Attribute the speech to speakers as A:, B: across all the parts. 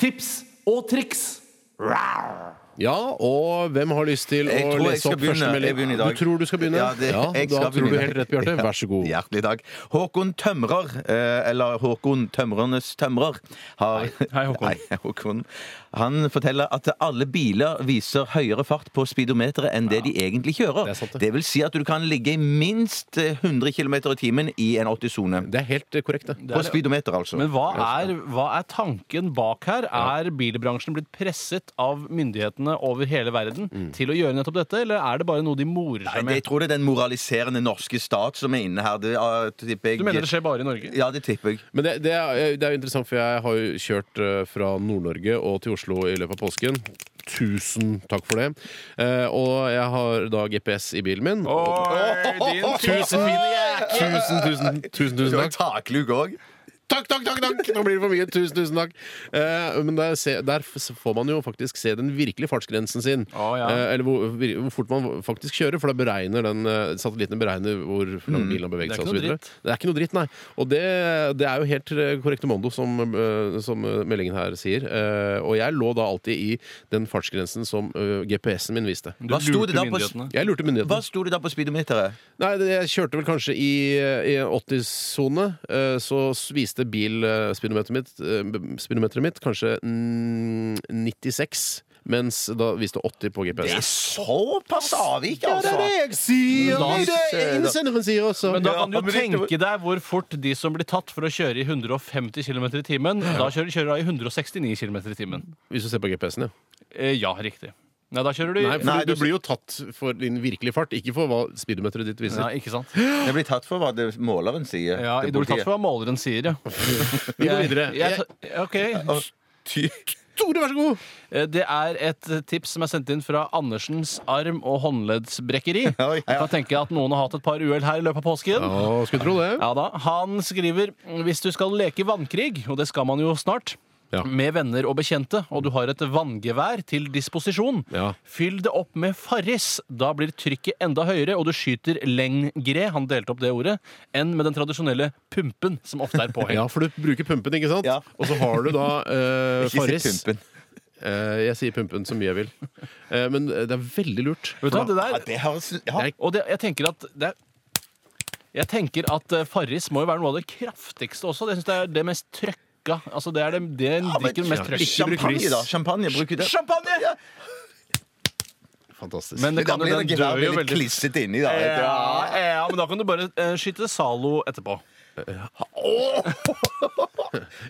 A: tips og triks. Rar.
B: Ja, og hvem har lyst til
C: Jeg
B: å
C: tror jeg
B: lese
C: skal
B: opp
C: begynne.
B: første
C: Jeg begynner i
B: melding?
C: dag.
B: Du tror du skal begynne?
C: Ja, det- jeg
B: da
C: skal
B: tror du
C: begynne.
B: helt rett, Bjarte.
C: Ja,
B: Vær så god.
C: Hjertelig takk. Håkon Tømrer, eh, eller Håkon Tømrernes Tømrer, har
A: Hei, Håkon.
C: Nei, Håkon. Han forteller at alle biler viser høyere fart på speedometeret enn det de egentlig kjører.
B: Det er sant, det.
C: det vil si at du kan ligge i minst eh, 100 km i timen i en 80-sone.
B: Det er helt eh, korrekt, det.
C: På speedometer, altså.
A: Men hva er, hva er tanken bak her? Er bilbransjen blitt presset av myndighetene over hele verden til å gjøre nettopp dette, eller er det bare noe de morer
C: Nei,
A: seg
C: det- jeg
A: med?
C: tror det er den moraliserende norske stat som er inne her. Det, ah, tipper jeg.
A: Du mener det skjer bare i Norge?
C: Ja, det tipper jeg.
B: Men det, det, er, eh, det er jo interessant, for jeg har jo kjørt eh, fra Nord-Norge og til Oslo i løpet av påsken. Tusen takk for det. Eh, og jeg har da GPS i bilen min. tusen, tusen, tusen, tusen,
C: Du
B: tusen
C: har
B: takk.
C: takluke òg.
B: Takk, takk, takk! takk Nå blir det for mye. Tusen, tusen takk. Eh, men der, se, der f- får man jo faktisk se den virkelige fartsgrensen sin.
A: Å, ja.
B: Eh, eller hvor, vir- hvor fort man faktisk kjører, for da beregner den eh, satellittene beregner hvor langt bilen har beveget seg.
A: Mm, Det er ikke
B: og så
A: noe
B: videre.
A: dritt.
B: Det er ikke noe dritt, nei. Og det, det er jo helt eh, korrekte mondo, som, eh, som eh, meldingen her sier. Eh, og jeg lå da alltid i den fartsgrensen som eh, GPS-en min viste.
A: Du
C: Hva sto det
A: lurte
C: da på-
A: myndighetene.
B: Jeg lurte myndighetene.
C: Hva sto det da på speedometeret?
B: Nei, det- jeg kjørte vel kanskje i, i en 80-sone. eh, Så s- viste bil eh, speedometeret mitt, eh, b- speedometeret mitt kanskje mm, 96. Mens da viste 80 på
C: Det er
B: GPS.
C: såpass avvik, altså!
B: jeg sier!
A: Men da-
B: Det er det innsenderen sier også.
A: Men da kan du
C: Ja,
A: jo
C: men det-
A: tenke deg hvor fort de som blir tatt for å kjøre i 150 km i timen, da kjører kjører de i 169 km i timen.
B: Hvis du ser på GPS-en, ja.
A: Eh, Ja, riktig. Nei, da kjører du
B: Nei, for
C: Nei,
B: du,
C: du-
B: du blir jo tatt for din virkelige fart, ikke for hva speedometeret ditt viser.
A: Nei, ikke sant?
C: Jeg blir tatt for hva det måleren sier.
A: Ja,
C: til
A: det blir tatt
C: politiet.
A: for hva måleren sier, ja.
B: Vi går videre.
A: Jeg,
B: Jeg-
A: jeg, ok.
C: Ty-
B: Tore, vær så god!
A: Eh, Det er et tips som er sendt inn fra Andersens arm- og håndleddsbrekkeri.
C: Ja, ja.
A: Jeg kan tenke at noen har hatt et par uhell her i løpet av påsken.
B: Å, skulle tro det.
A: Ja da, Han skriver hvis du skal leke vannkrig, og det skal man jo snart,
B: Ja.
A: med venner og bekjente, og du har et vanngevær til disposisjon,
B: Ja.
A: fyll det opp med farris. Da blir trykket enda høyere, og du skyter lengre, han delte opp det ordet, enn med den tradisjonelle pumpen som ofte er påhengt.
B: Ja, for du bruker pumpen, ikke sant?
C: Ja.
B: Og så har du da eh,
C: Ikke
B: Farris.
C: si pumpen.
B: Eh, jeg sier pumpen så mye jeg vil. Eh, men det er veldig lurt.
A: Vet du hva, det
C: Ja,
A: der
C: det høres ja.
B: Jeg-
A: Og det, jeg tenker at det er jeg tenker at eh, Farris må jo være noe av det kraftigste også. Det synes jeg er det mest trøkka. Altså det er det, det en
C: men-
A: drikker mest trøkk.
B: Ikke bruk
C: Champagne,
B: ris.
C: da. Champagne, bruker det.
A: Champagne!
B: Fantastisk.
A: Men
C: Men da
A: det kan jo
C: blir det
A: den
C: gevær
A: dør jo
C: med litt
A: veldig
C: klissete inni, da.
A: ja, ja, men da kan du bare eh, skyte Zalo etterpå.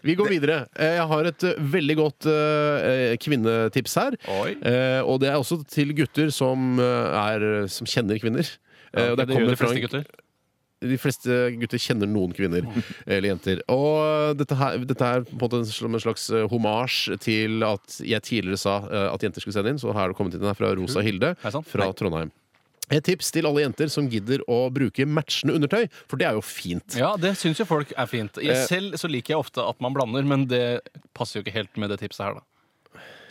B: Vi går videre. Eh, Jeg har et eh, veldig godt eh, kvinnetips her.
A: Oi.
B: Eh, og det er også til gutter som, eh, er, som kjenner kvinner. Eh, og
A: det,
B: kommer
A: gjør de
B: fra
A: fleste
B: en-
A: gutter.
B: De fleste gutter kjenner noen kvinner eller jenter. Og dette, her, dette er på en måte en sl- en slags eh, hommage til at jeg tidligere sa eh, at jenter skulle sende inn, så her har det kommet inn her fra Rosa Hilde
A: Er det sant?
B: fra
A: Nei.
B: Trondheim. Et tips til alle jenter som gidder å bruke matchende undertøy, for det er jo fint.
A: Ja, det syns jo folk er fint. Jeg selv så liker jeg ofte at man blander, men det passer jo ikke helt med det tipset her, da.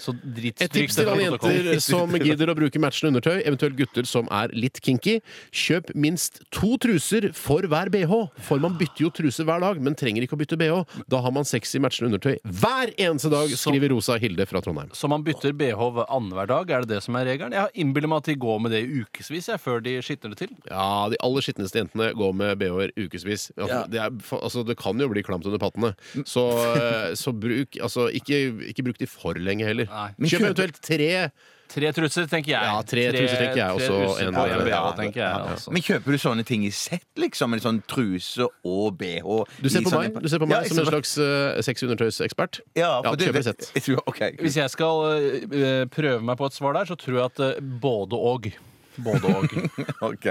A: Så
B: Et tips til alle jenter eh, som gidder å bruke matchende undertøy, eventuelt gutter som er litt kinky. Kjøp minst to truser for hver bh, for man bytter jo truse hver dag, men trenger ikke å bytte bh. Da har man sexy matchende undertøy hver eneste dag, skriver Rosa Hilde fra Trondheim.
A: Så man bytter BH hver- annenhver dag? Er det det som er regelen? Jeg innbiller meg at de går med det i ukevis jeg, før de skitner det til.
B: Ja, de aller skitneste jentene går med bh-er ukevis. Altså, det, er, fa- altså, det kan jo bli klamt under pattene. Så, eh, så bruk altså, ikke, ikke bruk de for lenge heller.
A: Nei.
C: Men
B: Kjøp
C: kjøp-
B: eventuelt tre.
A: Tre trusser, tenker jeg.
B: Ja, tre trusser tenker jeg også,
A: Tre trusser
B: en-
A: på
B: ja,
A: en
C: ja,
A: BH, tenker jeg.
C: ja.
A: Altså.
C: Men kjøper du sånne ting i sett, liksom? En sånn truse og bh?
B: Du ser på meg, du ser på meg som en
C: jeg ser på-
B: slags uh, sexundertøysekspert.
C: Ja, for du
B: kjøp
C: vet-
B: resept.
C: jeg tror- ok.
A: Hvis jeg skal eh, prøve meg på et svar der, så tror jeg at eh, både og. Både og.
C: Ok.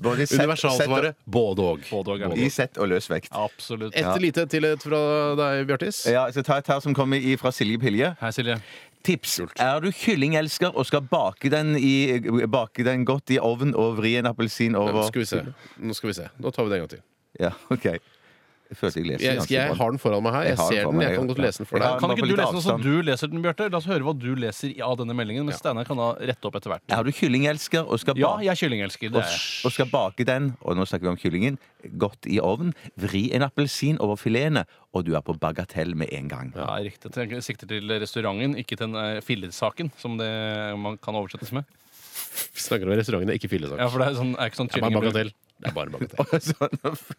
C: Både i sett-
B: Universalsvaret både og.
A: Både og er
C: sett-
A: det.
C: I sett og løs vekt.
A: Absolutt.
B: Et lite til et fra deg, Bjartis.
C: Ja, jeg skal ta et her som kommer i- fra Silje Pilje.
A: Hei, Silje.
C: Tips. Er du kyllingelsker og skal bake den, i, bake den godt i ovn og vri en appelsin
B: Nå
C: over
B: skal vi se. Nå skal vi se. Nå tar vi det en gang til.
C: Ja, ok Jeg følte jeg leste
B: Jeg,
C: ganske
B: jeg
C: bra.
B: har den foran meg her. Jeg
C: har
B: ser
C: for
B: den.
C: meg,
B: Jeg kan godt lese den for
C: Jeg har
B: deg.
A: Kan
C: bare på
A: ikke du
C: litt
A: lese den som
C: avstand.
A: du leser den, Bjarte? La oss høre hva du leser i- av denne meldingen. Men Steinar kan da rette opp etter hvert.
C: Er du kyllingelsker og skal,
A: Ja,
C: bake-
A: jeg er kyllingelsker. Det
C: og,
A: er jeg.
C: og skal bake den, og nå snakker vi om kyllingen, godt i ovnen, vri en appelsin over filetene, og du er på bagatell med en gang.
A: Ja, riktig. Jeg sikter til restauranten, ikke til den eh, fillesaken, som det man kan oversettes med.
B: Vi snakker om restaurantene, ikke fillesak.
A: Ja, for det er, sånn, er ikke sånn
B: Det er bare
A: kylling i brød.
B: bagatell. Det er bare bagatell.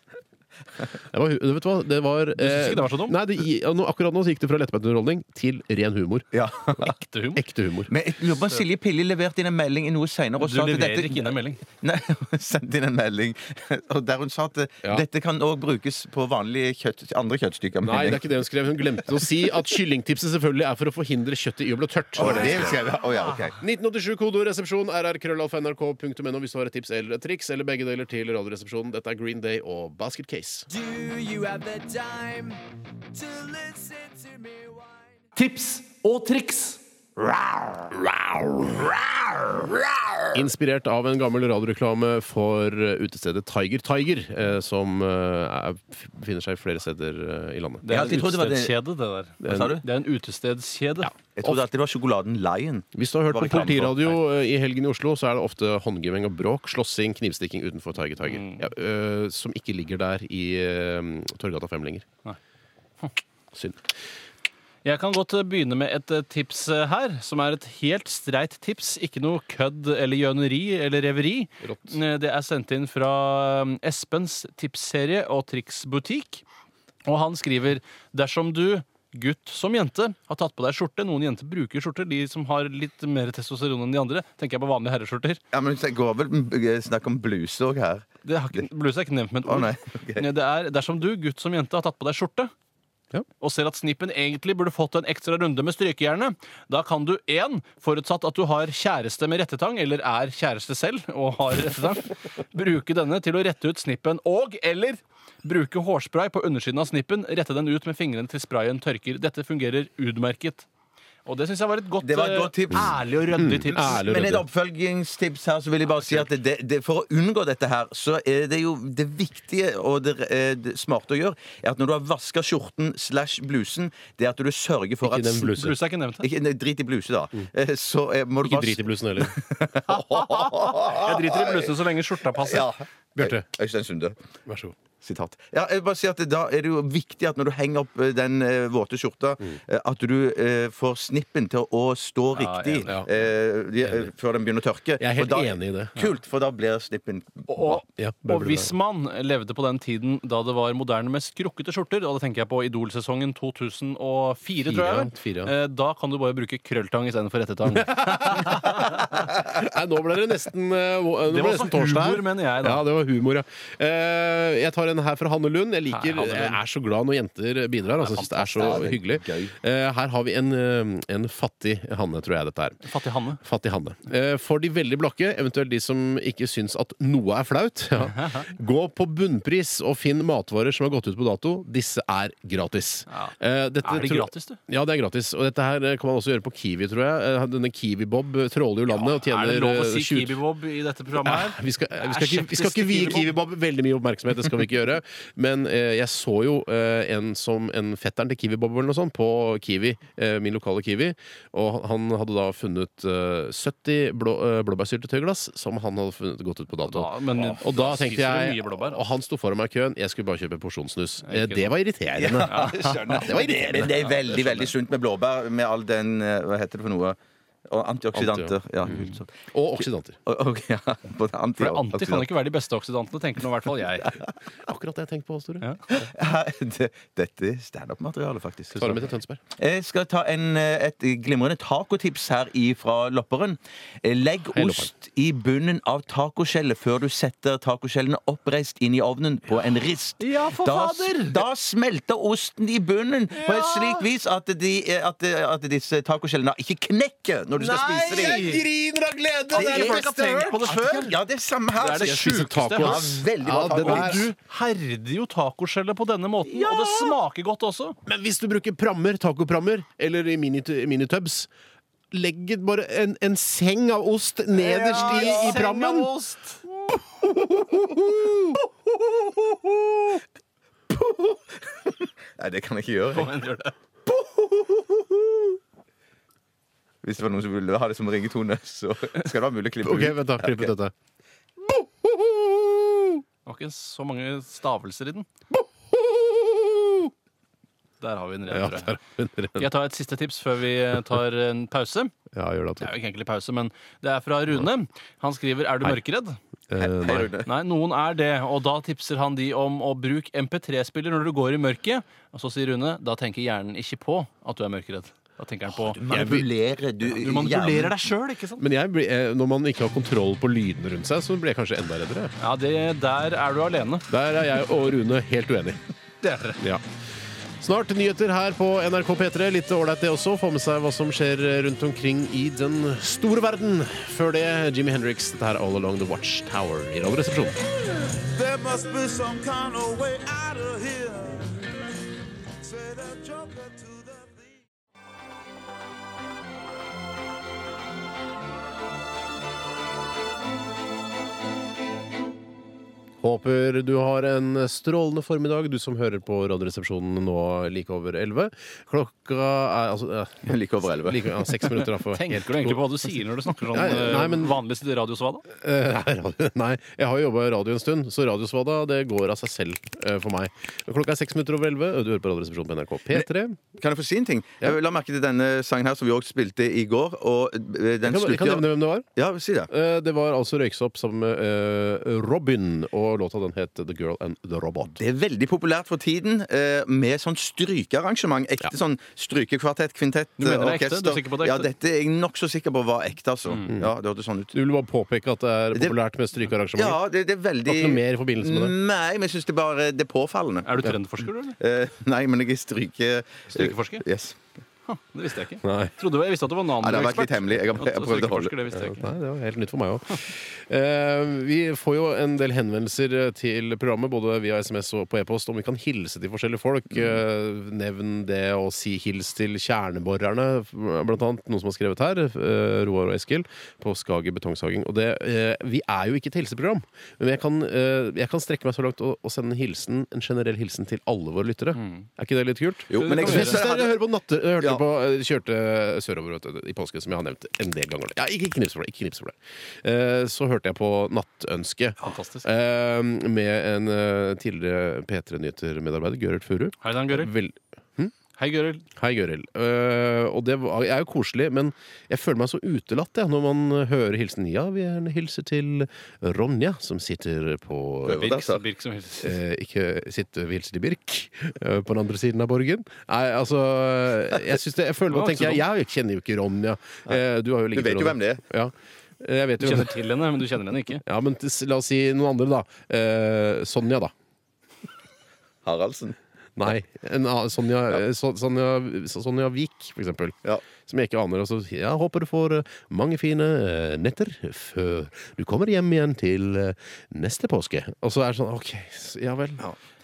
C: Sånn.
B: Det var, hu- vet du hva? Det var, eh,
A: synes ikke det var så dumt?
B: Nei, det, gi- ja, nå, akkurat nå så gikk det fra lettbeint underholdning til ren humor.
C: Ja.
A: Ekte humor.
B: Ekte humor.
C: Men jeg lurer på om Silje Pilli leverte inn en melding noe senere og
A: Du
C: sa at
A: leverer
C: dette
A: ikke inn en melding.
C: Nei, hun sendte inn en melding og der hun sa at
B: Ja.
C: dette kan òg brukes på vanlige kjøtt, andre kjøttstykker.
B: Nei, det er ikke det hun skrev. Hun glemte å si at kyllingtipset selvfølgelig er for å forhindre kjøttet i å bli tørt.
C: Å, det er det hun skrev, ja. Å, ja, ok.
B: Ah. 1987 kodoresepsjon rrkrøllalfa.nrk.no hvis du har et tips eller et triks, eller begge deler til Radioresepsjonen. Dette er Green Day og Basket Case.
D: Do you have the time to listen to me whine?
B: Inspirert av en gammel radioreklame for eh, utestedet Tiger Tiger, eh, som eh, er, befinner seg flere steder eh, i landet.
A: Det
C: Jeg
A: er
C: alltid
A: en
C: trodde det var det-
A: utestedskjede, det der.
C: Hva sa du?
A: Det er en utestedskjede.
C: Jeg trodde alltid det var sjokoladen Lion.
B: Hvis du har hørt
C: Var
B: på
C: det reklame for?
B: politiradio eh, i helgen i Oslo, så er det ofte håndgivning og bråk, slåssing, knivstikking utenfor Tiger Tiger.
C: Mm.
B: Ja, eh, som ikke ligger der i eh, Torgata 5 lenger.
A: Nei.
B: Synd.
A: Jeg kan godt eh, begynne med et eh, tips eh, her, som er et helt streit tips. Ikke noe kødd eller gjøneri eller reveri.
B: Rått.
A: Eh, Det er sendt inn fra eh, Espens tipsserie og triksbutikk. Og han skriver dersom du Gutt som jente har tatt på deg skjorte. Noen jenter bruker skjorter. De som har litt mer testosteron enn de andre. Tenker jeg på vanlige herreskjorter.
C: Ja, men Det går vel eh, snakk om bluse òg her.
A: Det har ikke, bluse er ikke nevnt med et
C: Å,
A: ord.
C: nei, ok.
A: Nei, Det er dersom du, gutt som jente, har tatt på deg skjorte
B: Ja.
A: og ser at snippen egentlig burde fått en ekstra runde med strykejernet, da kan du én, forutsatt at du har kjæreste med rettetang, eller er kjæreste selv og har rettetang, bruke denne til å rette ut snippen, og eller bruke hårspray på undersiden av snippen, rette den ut med fingrene til sprayen tørker. Dette fungerer utmerket. Og det syns jeg var et godt,
C: Det var et
A: eh,
C: godt tips. Mm.
A: ærlig og ryddig tips.
B: Mm. Ærlig og
C: Men et
B: ryddig.
C: oppfølgingstips her, så vil jeg bare si at det, det, for å unngå dette her, så er det jo det viktige og det, eh, det smarte å gjøre, er at når du har vaska skjorten slash blusen, det er at du sørger for
B: Ikke
C: at
B: den blusen. Mm.
A: Bluse er ikke nevnt her.
C: Ikke, nei, drit i bluse, da. Eh, Så eh, må du
B: Ikke
C: bare
B: drit i blusen heller.
A: Jeg driter i blusene så lenge skjorta passer.
C: Ja.
B: Bjarte,
C: Øystein Sunde.
B: vær så god.
C: Sitat. Ja, jeg vil bare si at Da er det jo viktig at når du henger opp eh, den eh, våte skjorta, eh, at du eh, får snippen til å stå
A: Ja,
C: riktig
A: enig.
B: Ja.
C: eh, de- eh, før den begynner å tørke.
B: Jeg er helt
C: Og da,
B: enig i det.
C: Kult, for da blir snippen bra.
A: Og,
B: Ja, bør
A: og
B: bli
A: hvis man levde på den tiden da det var moderne med skrukkete skjorter, og da tenker jeg på Idol-sesongen 2004, tror jeg, vel,
B: Fire, ja.
A: eh, da kan du bare bruke krølltang istedenfor rettetang.
B: Nei, nå ble det nesten, eh, nå ble
A: Det var
B: nesten
A: også
B: torsdag. her.
A: humor, mener jeg, da.
B: Ja, det var humor, ja. Eh, jeg tar en her fra Hanne Lund. Jeg, liker,
A: Hei, Hanne Lund.
B: jeg er så glad når jenter bidrar. Altså, jeg synes det er så hyggelig. Eh, her har vi en, eh, en fattig Hanne, tror jeg dette er.
A: Fattig Hanne.
B: Fattig Hanne. Eh, For de veldig blakke, eventuelt de som ikke syns at noe er flaut, ja. gå på bunnpris og finn matvarer som har gått ut på dato. Disse er gratis.
A: Ja.
B: Eh, dette
A: Er det
B: tror-
A: gratis, du?
B: Ja, det er gratis. Og dette her eh, kan man også gjøre på Kiwi, tror jeg. Eh, Denne Kiwi-Bob tråler jo landet og tjener
A: Er det lov å
B: eh,
A: si
B: 20
A: Kiwi-Bob i dette programmet her?
B: vi skal, eh, vi, skal
A: Jeg er
B: ikke, vi skal ikke
A: skeptisk
B: vie
A: til
B: Kiwi-Bob veldig mye oppmerksomhet, det skal vi ikke gjøre. Men eh, jeg så jo eh, en som en fetteren til Kiwi-Bob eller noe sånt på Kiwi, eh, min lokale Kiwi, og han hadde da funnet eh, 70 blå, eh, blåbærsyltetøyglass som han hadde funnet gått ut på dato.
A: Da- men-
B: og da tenkte
A: spiser du
B: jeg
A: mye blåbær, altså.
B: Og han sto foran meg i køen, jeg skulle bare kjøpe en porsjon snus. Eh,
A: Ikke
B: det var irriterende. Det var
C: Men
B: irriterende.
C: det er veldig veldig sunt med blåbær med all den eh, Hva heter det for noe? Og antioksidanter. Ja, kult, sånn.
B: Og oksidanter.
C: Og- og- ja, både anti-
A: For anti kan
C: antioksidanter.
A: ikke være de beste oksidantene, tenker nå i hvert fall jeg.
B: Akkurat det jeg tenkte på, Store.
A: Ja.
C: Ja, det- Dette er standup-materiale, faktisk.
B: Svaret mitt er Tønsberg.
C: Jeg skal ta en, eh, et glimrende tacotips her fra Lopperen. Eh, Legg
B: Hei, Lopperen.
C: ost i bunnen av tacoskjellet før du setter tacoskjellene oppreist inn i ovnen på en rist.
A: Ja, for
C: da,
A: fader!
C: da smelter osten i bunnen på et slikt vis at, de, eh, at, eh, at disse tacoskjellene ikke knekker når du skal spise dem.
B: griner av glede!
C: Det er
A: ikke tenkt på det før.
C: Ja, det er samme her.
A: Det er det
C: Jeg
A: sjukeste
C: spiser taco,
A: jeg har.
C: ass. Veldig
B: Ja,
C: bra
B: det
C: taco.
B: der-
A: Og du herder jo tacoskjellet på denne måten, og det smaker godt også.
B: Men hvis du bruker prammer, tacoprammer, eller i mini- minitubs Legg bare en, en seng av ost nederst i, i prammen!
A: Sengeost.
C: Nei, det kan jeg ikke gjøre.
A: Kom igjen, gjør det.
C: Hvis det var noen som ville ha det som ringetone, så skal det være mulig å klippe
B: OK,
C: ut.
B: vent, da. Klipp ut dette.
A: Det var ikke så mange stavelser i den. Der har vi en
B: Ja, der
A: ren, tror jeg.
B: er den ren.
A: Jeg tar et siste tips før vi eh, tar en pause.
B: ja, gjør det.
A: Det er
B: Tor.
A: jo ikke egentlig pause, men det er fra Rune. Han skriver 'Er du mørkeredd?'
B: Eh,
C: Hei,
B: nei.
C: Rune.
A: Nei, noen er det, og da tipser han de om å bruke MP3-spiller når du går i mørket. Og så sier Rune da tenker hjernen ikke på at du er mørkeredd. Da tenker han på
C: Manipulerer du
A: Du manipulerer deg sjøl, ikke sant?
B: Men jeg, blir- eh, når man ikke har kontroll på lyden rundt seg, så blir jeg kanskje enda reddere.
A: Ja, det, der er du alene.
B: Der er jeg og Rune helt uenig. Ja. Snart nyheter her på NRK P3. Litt ålreit det også. Få med seg hva som skjer rundt omkring i den store verden. Før det, Jimmy Hendrix. Dette er All Along The Watchtower i Radioresepsjonen.
D: There must be some kind of way out of here. Say the joker to the thief.
B: Håper du har en strålende formiddag, du som hører på Radioresepsjonen nå like over elleve. Klokka er altså eh,
C: Like over elleve.
B: like, ja, seks minutter, da. For
A: Tenker du egentlig på hva du sier når du snakker sånn
B: Nei, nei,
A: eh,
B: men-
A: vanlig radiosvada?
B: Eh, nei, radio, nei, jeg har jo jobba i radio en stund, så Radiosvada det går av seg selv eh, for meg. Klokka er seks minutter over elleve, og du hører på Radioresepsjonen på NRK P3.
C: Kan jeg få si en ting? Jeg La merke til denne sangen her som vi også spilte i går. Og eh,
B: Jeg
C: den
B: kan, jeg kan
C: slutter
B: nevne hvem det var.
C: Ja, si det.
B: Eh, Det var altså Røyksopp sammen med eh, Robin, og låta den het The Girl and the Robot.
C: Det er veldig populært for tiden eh, med sånn strykearrangement. Ekte sånn strykekvartett, kvintett,
A: Du mener det er ekte?
C: orkester.
A: Du er sikker på det er
C: Ja,
A: ekte?
C: dette er jeg nokså sikker på var ekte, altså. Ja, det hørtes sånn ut.
B: Du vil bare påpeke at det er
C: Det-
B: populært med strykearrangementer?
C: Ja, det, det er veldig
B: Har ikke noe mer i forbindelse med det?
C: Nei, men jeg syns det er bare det er påfallende.
A: Er du trendforsker, du, eller?
C: Eh, nei, men jeg er stryke...
A: Strykeforsker?
C: Yes.
A: Det visste jeg ikke.
B: Nei.
A: Trodde du, jeg visste at du var
C: Nei, det har vært litt
A: nanoekspert.
C: hemmelig. Jeg har- jeg har prøvd å holde
A: Strykeforsker, det visste jeg ikke.
B: Nei, det var helt nytt for meg òg. vi får jo en del henvendelser eh, til programmet, både via SMS og på e-post, om vi kan hilse til forskjellige folk. Eh, nevn det å si hils til kjerneborerne, blant annet noen som har skrevet her, eh, Roar og Eskil, på Skager betongsaging. Og det, eh, vi er jo ikke et helseprogram, men jeg kan, eh, jeg kan strekke meg så langt og, og sende en hilsen, en generell hilsen til alle våre lyttere. Er ikke det litt kult?
C: Jo, men jeg
B: Jeg
C: synes
B: synes dere hører på natte, jeg hørte
C: Ja.
B: på, jeg kjørte sørover vet du, i påske, som jeg har nevnt en del ganger. Ja, ikke knips for det. ikke knips for det. Eh, Så hørte jeg på Nattønsket
A: Fantastisk.
B: eh, med en eh, tidligere P3 Nyheter-medarbeider, Gøril Furu.
A: Hei sann, Gøril.
B: Vel-
A: Hei, Gøril.
B: Hei, Gøril. Eh, og det var, er jo koselig, men jeg føler meg så utelatt jeg, når man hører hilsen. Ja, vi er en hilser til Ronja, som sitter på
C: Prøver.
A: Birk,
C: sa-
A: Birk som helst.
B: eh, ikke sitte ved hilse til Birk eh, på den andre siden av borgen. Nei, altså Jeg, synes det, jeg føler
A: Det var
B: meg, tenker
A: ikke så
B: jeg, jeg kjenner jo ikke Ronja. Eh, Du, har jo ligget
C: Du vet
B: med
C: jo
B: Ronja.
C: hvem det
B: Ja. Eh, Jeg vet
A: Du
B: jo hvem
A: kjenner til henne, men du kjenner henne ikke.
B: ja, men t- La oss si noen andre, da. Eh, Sonja, da.
C: Haraldsen.
B: Nei. En, annen- Sonja, eh, Son- Sonja, Sonja Vik, for eksempel.
C: Ja.
B: Som jeg ikke aner. Og så jeg håper du får eh, mange fine eh, netter før du kommer hjem igjen til eh, neste påske. Og så er det sånn OK, s- ja vel.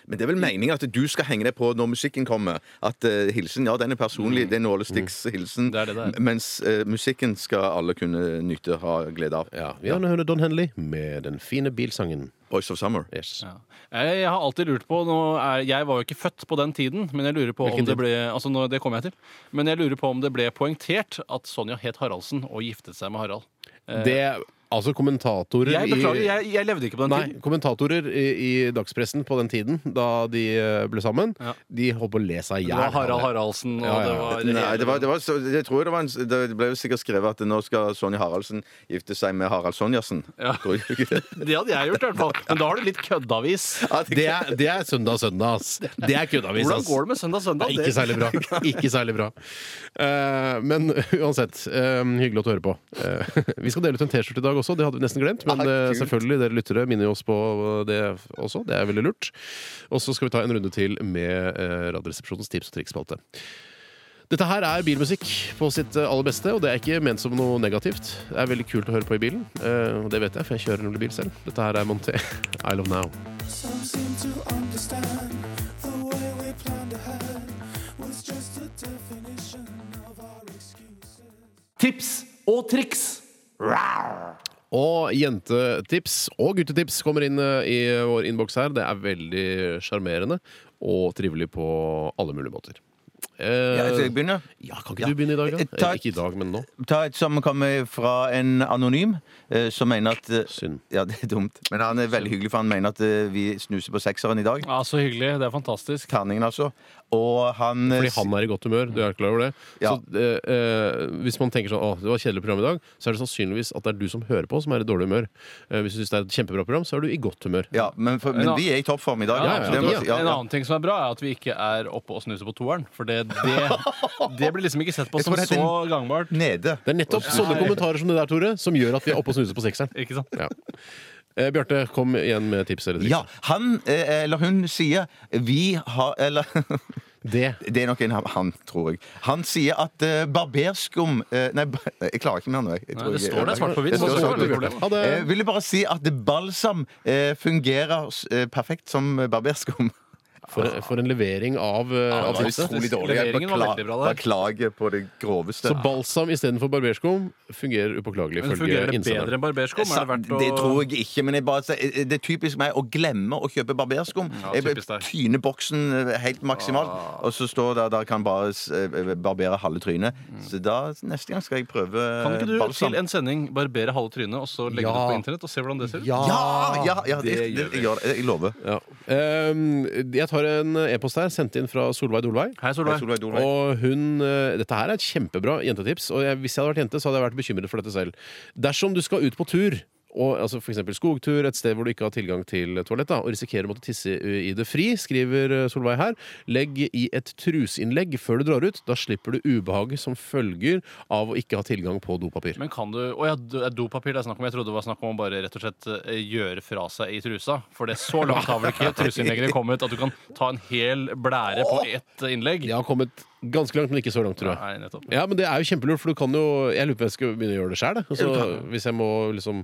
C: Men det er vel meningen at du skal henge deg på når musikken kommer. At eh, hilsen, ja, den er personlig, det er nålestikkshilsen.
A: Det er det det er.
C: M- Mens eh, musikken skal alle kunne nyte, ha glede av.
B: Ja, vi har nå hørt Don Henley med den fine bilsangen.
C: Boys of Summer.
B: Yes.
A: Ja. Eh, Jeg jeg har alltid lurt på nå er, Jeg var jo ikke født på den tiden, men jeg lurer på
B: Hvilken
A: om det
B: tid?
A: ble Altså, nå, det kommer jeg til. Men jeg lurer på om det ble poengtert at Sonja het Haraldsen og giftet seg med Harald.
B: Det, altså kommentatorer
A: Jeg beklager, jeg, jeg levde ikke på
B: i
A: den
B: Nei,
A: tiden.
B: kommentatorer i, i dagspressen på den tiden, da de eh, ble sammen,
A: Ja.
B: de holdt på å le seg i
A: Det
B: hjel.
A: var Harald Haraldsen, og
B: Ja, ja,
A: det
B: ja.
A: var
C: Nei, det, var, det, var, så, jeg tror det, var en, s- det ble jo sikkert skrevet at nå skal Sonja Haraldsen gifte seg med Harald Sonjassen.
A: Ja.
C: Tror du ikke det?
A: Det hadde jeg gjort, i hvert fall. Men da har du litt køddavis.
B: Det er, det er søndag søndag, ass. Det er køddavis,
A: Hvordan
B: ass.
A: går det med søndag søndag?
B: Nei, ikke
A: Det-
B: særlig bra. Ikke særlig bra. Eh, men uansett, eh, hyggelig at du hører på. Eh, vi skal dele ut en T-skjorte i dag også, det hadde vi nesten glemt. Men
C: Ah,
B: eh,
C: kult.
B: selvfølgelig, dere lyttere minner jo oss på det også. Det er veldig lurt. Og så skal vi ta en runde til med eh, Radioresepsjonens tips og triksspalte. Dette her er bilmusikk på sitt eh, aller beste, og det er ikke ment som noe negativt. Det er veldig kult å høre på i bilen, eh, og det vet jeg, for jeg kjører nemlig bil selv. Dette her er Monté, I Love Now.
D: Some seem to understand the way we planned ahead was just a definition of our excuses.
A: Tips og triks!
B: Og jentetips og guttetips kommer inn eh, i vår innboks her. Det er veldig sjarmerende og trivelig på alle mulige måter. Eh,
C: Ja, skal jeg begynne?
B: ja, kan ikke
C: Ja.
B: du begynne i dag?
C: Eh,
B: Da?
C: ta
B: Eh,
C: et-
B: Ikke i dag, men nå.
C: Ta et som kommer fra en anonym, eh, som mener at eh,
B: Synd.
C: Ja, det er dumt. Men han er veldig hyggelig, for han mener at eh, vi snuser på sekseren i dag.
A: Ja, Så hyggelig. Det er fantastisk.
C: Terningen, altså. Og han eh,
B: Fordi han er i godt humør. Du er klar over det.
C: Ja.
B: Så, eh, eh, hvis man tenker sånn Å, det var et kjedelig program i dag, så er det sannsynligvis at det er du som hører på, som er i dårlig humør. Eh, hvis du syns det er et kjempebra program, så er du i godt humør.
C: Ja, men, for, men vi er i toppform i dag.
B: Ja, ja,
C: så det må-
B: ja.
C: ja,
A: En
C: ja.
A: annen ting som er bra, er at vi ikke er oppe og snuser på toeren. For det, det, det blir liksom ikke sett på
C: Jeg
A: som
C: tror det heter
A: så gangbart.
C: Nede.
B: Det er nettopp sånne kommentarer som det der, Tore, som gjør at vi er oppe og snuser på sekseren.
A: Ikke sant?
B: Ja. Eh, Bjarte, kom igjen med tips eller triks.
C: Ja, han eh, eller hun sier Vi har Eller
B: Det
C: det er nok en han- han, tror jeg. Han sier at eh, barberskum eh, Nei, ba- jeg klarer ikke mer nå. jeg. Jeg tror
A: Nei, det
C: jeg-
A: står der svart på hvitt.
C: Det står
A: så det
C: svart på
A: er ikke
C: hvitt.
A: noe problem.
B: Ha det.
C: Eh, vil jeg bare si at balsam eh, fungerer eh, perfekt som barberskum.
B: For, for en levering av, eh, av tipset.
A: utrolig dårlig. Jeg Leveringen var
C: Bekla-
A: veldig bra der.
C: Beklager på det groveste.
B: Så balsam istedenfor barberskum fungerer upåklagelig,
A: Men
B: ifølge
A: fungerer det bedre
B: innsenderen.
A: enn barberskum? Er det verdt å
C: det tror jeg ikke, men jeg bare, sier- eh, det er typisk meg å glemme å kjøpe barberskum.
A: Ja,
C: jeg
A: typisk deg. Ah.
C: tyner boksen eh, helt maksimalt, og så står det at jeg kan bare eh, barbere halve trynet. Så da, neste gang skal jeg prøve eh,
A: Mm. Kan ikke du
C: balsam.
A: til en sending barbere halve trynet og så legge det
B: Ja.
A: ut på internett og se hvordan det ser ut?
C: Ja,
A: Ah,
C: ja, ja det, det, jeg gjør det. Jeg lover.
B: Ja. Eh, jeg tar en e-post her, sendt inn fra Solveig Dolvei.
A: Hei, Solveig.
C: Solveig Dolvei.
B: Og hun, eh, Dette her er et kjempebra jentetips, og jeg, hvis jeg hadde vært jente, så hadde jeg vært bekymret for dette selv. Dersom du skal ut på tur, og, altså f.eks. skogtur, et sted hvor du ikke har tilgang til toalett, da, og risikerer å måtte tisse i det fri, skriver eh, Solveig her, legg i et truseinnlegg før du drar ut. Da slipper du ubehaget som følger av å ikke ha tilgang på dopapir.
A: Men kan du Å ja, do- det er dopapir det er snakk om. Jeg trodde det var snakk om å bare rett og slett eh, gjøre fra seg i trusa. For det er så langt har vel ikke truseinnleggene kommet at du kan ta en hel blære på ett innlegg?
B: Jeg har kommet ganske langt, men ikke så langt, tror jeg.
A: Nei, nettopp.
B: Ja, men det er jo kjempelurt, for du kan jo Jeg lurer på om jeg skal begynne å gjøre det sjøl. Altså, hvis jeg må liksom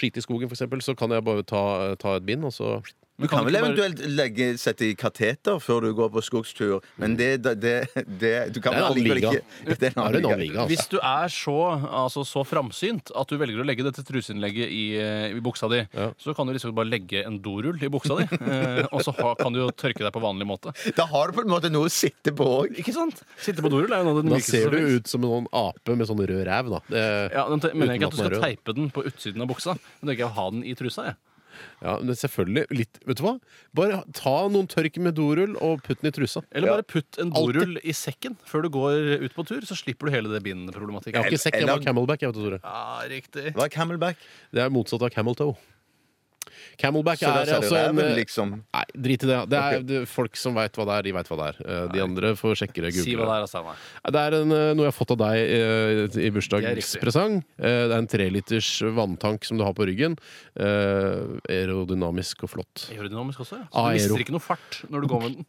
B: skite i skogen, for eksempel, så kan jeg bare ta, ta et bind, og så
C: Du
A: kan
C: kan vel
A: ikke bare-
C: eventuelt legge, sette i kateter før du går på skogstur, men det, det, det, det Du kan
B: Det er en
C: vel allikevel
B: liga.
C: ikke Det er en
B: er det en annen liga.
A: Hvis
B: Altså.
A: du er så, altså, så framsynt at du velger å legge dette truseinnlegget i, eh, i buksa di, så kan du liksom bare legge en dorull i buksa di, eh, og så ha, kan du jo tørke deg på vanlig måte.
C: Da har du på en måte noe å sitte på òg.
A: Ikke sant? Sitte på dorull er jo noe av det
B: Da
A: mykeste
B: ser
A: som
B: du
A: finnes.
B: ut som en sånn ape med sånn rød ræv, da. Det,
A: Ja, den te- mener jeg
B: Uten
A: ikke
B: at den
A: at du skal
B: er rød.
A: teipe den på utsiden av buksa. Men tenker jeg å ha den i trusa, jeg.
B: ja, men selvfølgelig. Litt, vet du hva? Bare ta noen tørk med dorull og putt den i trusa.
A: Eller bare putt en dorull i sekken før du går ut på tur, så slipper du hele det
B: Jeg har
A: bindproblematikken.
B: ikke sekk, jeg
C: Eller-
B: har camelback. Jeg vet, du, Tore.
A: Ja, riktig.
C: Hva er camelback?
B: det er motsatt av camel toe. Camelback
C: Så da
B: er
C: ser du
B: altså en
C: ræven, liksom.
B: Nei, drit i det. Det er det, folk som veit hva det er, de veit hva det er. Eh, De andre får sjekke det.
A: Si
B: google
A: hva
B: det.
A: det er, Steinar.
B: Ja, Det er en, eh, noe jeg har fått av deg eh, i
A: Det er
B: bursdagspresang. Eh, Det er en treliters vanntank som du har på ryggen. Eh, Aerodynamisk og flott.
A: Aerodynamisk også, ja. Så du
B: Aero.
A: mister ikke noe fart når du går med den.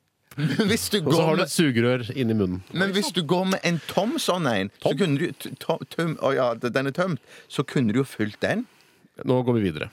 C: Hvis du
B: Og så
C: går
B: har du et
C: med,
B: sugerør inni munnen.
C: men hvis du går med en tom sånn en, så kunne du t- tom- tøm, Å ja, d- den er tømt. Så kunne du jo fylt den.
B: Nå går vi videre.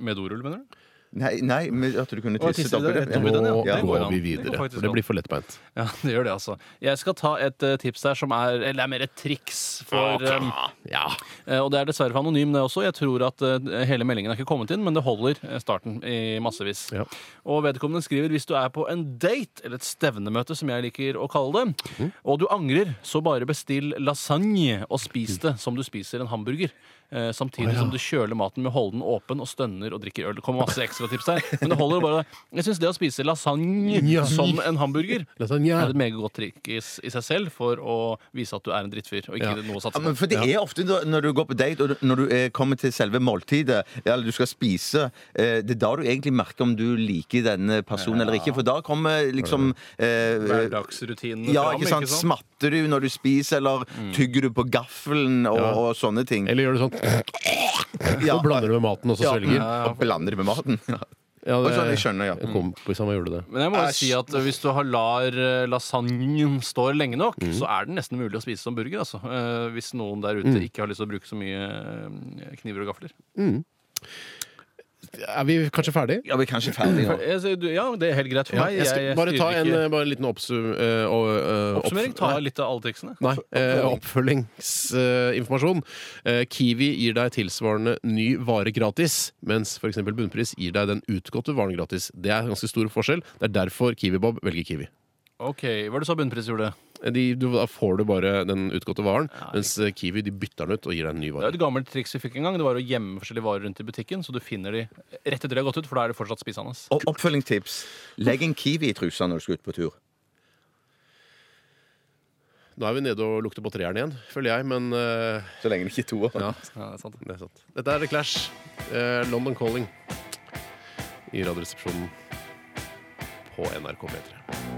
A: Med dorull, mener du?
C: Nei, nei men at du kunne
A: Å,
C: tisset
A: tisse
C: oppi
A: det
C: den.
A: rett oppi
B: Nå
A: den, ja.
C: Ja.
A: Det går
B: går
A: an.
B: vi
A: Det går
B: videre.
A: faktisk
B: For det blir for lettbeint.
A: Ja, det gjør det, altså. Jeg skal ta et eh, tips der som er Eller det er mer et triks for eh,
B: Ah, Ja.
A: eh, Og det er dessverre for anonym, det også. Jeg tror at eh, hele meldingen er ikke kommet inn, men det holder eh, starten i massevis.
B: Ja.
A: Og vedkommende skriver hvis du er på en date, eller et stevnemøte som jeg liker å kalle det,
B: Mhm.
A: og du angrer, så bare bestill lasagne og spis det som du spiser en hamburger. Eh, samtidig som du kjøler maten med å holde den åpen og stønner og drikker øl. Det kommer masse ekstra tips her. Men det holder bare Jeg syns det å spise lasagne
B: Ja.
A: som en hamburger
B: Lasagne.
A: er et meget godt trikk i, s- i seg selv for å vise at du er en drittfyr og ikke noe
C: Ja,
A: å satse på.
C: men for det er ofte da, når du går på date og du- når du eh, kommer til selve måltidet, eller du skal spise, eh, det er da du egentlig merker om du liker denne personen eller ikke. For da kommer liksom eh,
A: Hverdagsrutinene
C: Ja,
A: fram,
C: ikke sant? Smatter du når du spiser, eller tygger du på gaffelen og, og sånne ting?
B: Eller gjør du sånn
C: Ja.
B: Så blander du med maten, og så svelger.
C: Og blander det med maten. Ja.
B: Ja,
C: Og sånn, jeg skjønner, ja.
B: En kompis av meg gjorde det.
A: Men jeg må jo
C: Æsj.
A: si at hvis du har lar eh, lasagnen stå lenge nok,
B: Mhm.
A: så er den nesten mulig å spise som burger. Altså. Eh, Hvis
B: Mhm.
A: noen der ute ikke har lyst til å bruke så mye eh, kniver og gafler.
B: Er vi kanskje ferdig?
C: Ja, vi er kanskje ferdig nå.
A: Jeg sier eh, du- Ja, det er helt greit for
B: Ja,
A: meg.
B: jeg skal bare
A: styrer
B: ta en,
A: ikke-
B: eh, bare en liten oppsum, eh, og, eh, opp-
A: oppsummering. Ta litt av alle triksene.
B: Nei, eh, oppfølgingsinformasjon. Eh, Kiwi gir deg tilsvarende ny vare gratis, mens f.eks. Bunnpris gir deg den utgåtte varen gratis. Det er ganske stor forskjell. Det er derfor Kiwi-Bob velger Kiwi. Eh,
A: Ok, Hva er det du sa bunnpris gjorde?
B: De, du, da får du bare den utgåtte varen, mens eh, Kiwi de bytter den ut og gir deg en ny
A: Det er et
B: vare.
A: gammelt triks vi fikk en gang. Det var å gjemme forskjellige varer rundt i butikken, så du finner de rett etter de har gått ut, for da er de fortsatt spisende.
C: Og oppfølgingstips. Legg en kiwi i trusa når du skal ut på tur.
B: Nå er vi nede og lukter på treeren igjen, føler jeg, men eh,
C: Så lenge det ikke er to år.
B: ja,
A: Ja, det er sant.
B: det er sant. Dette er The Clash. Eh, London Calling i Radioresepsjonen på NRK P3.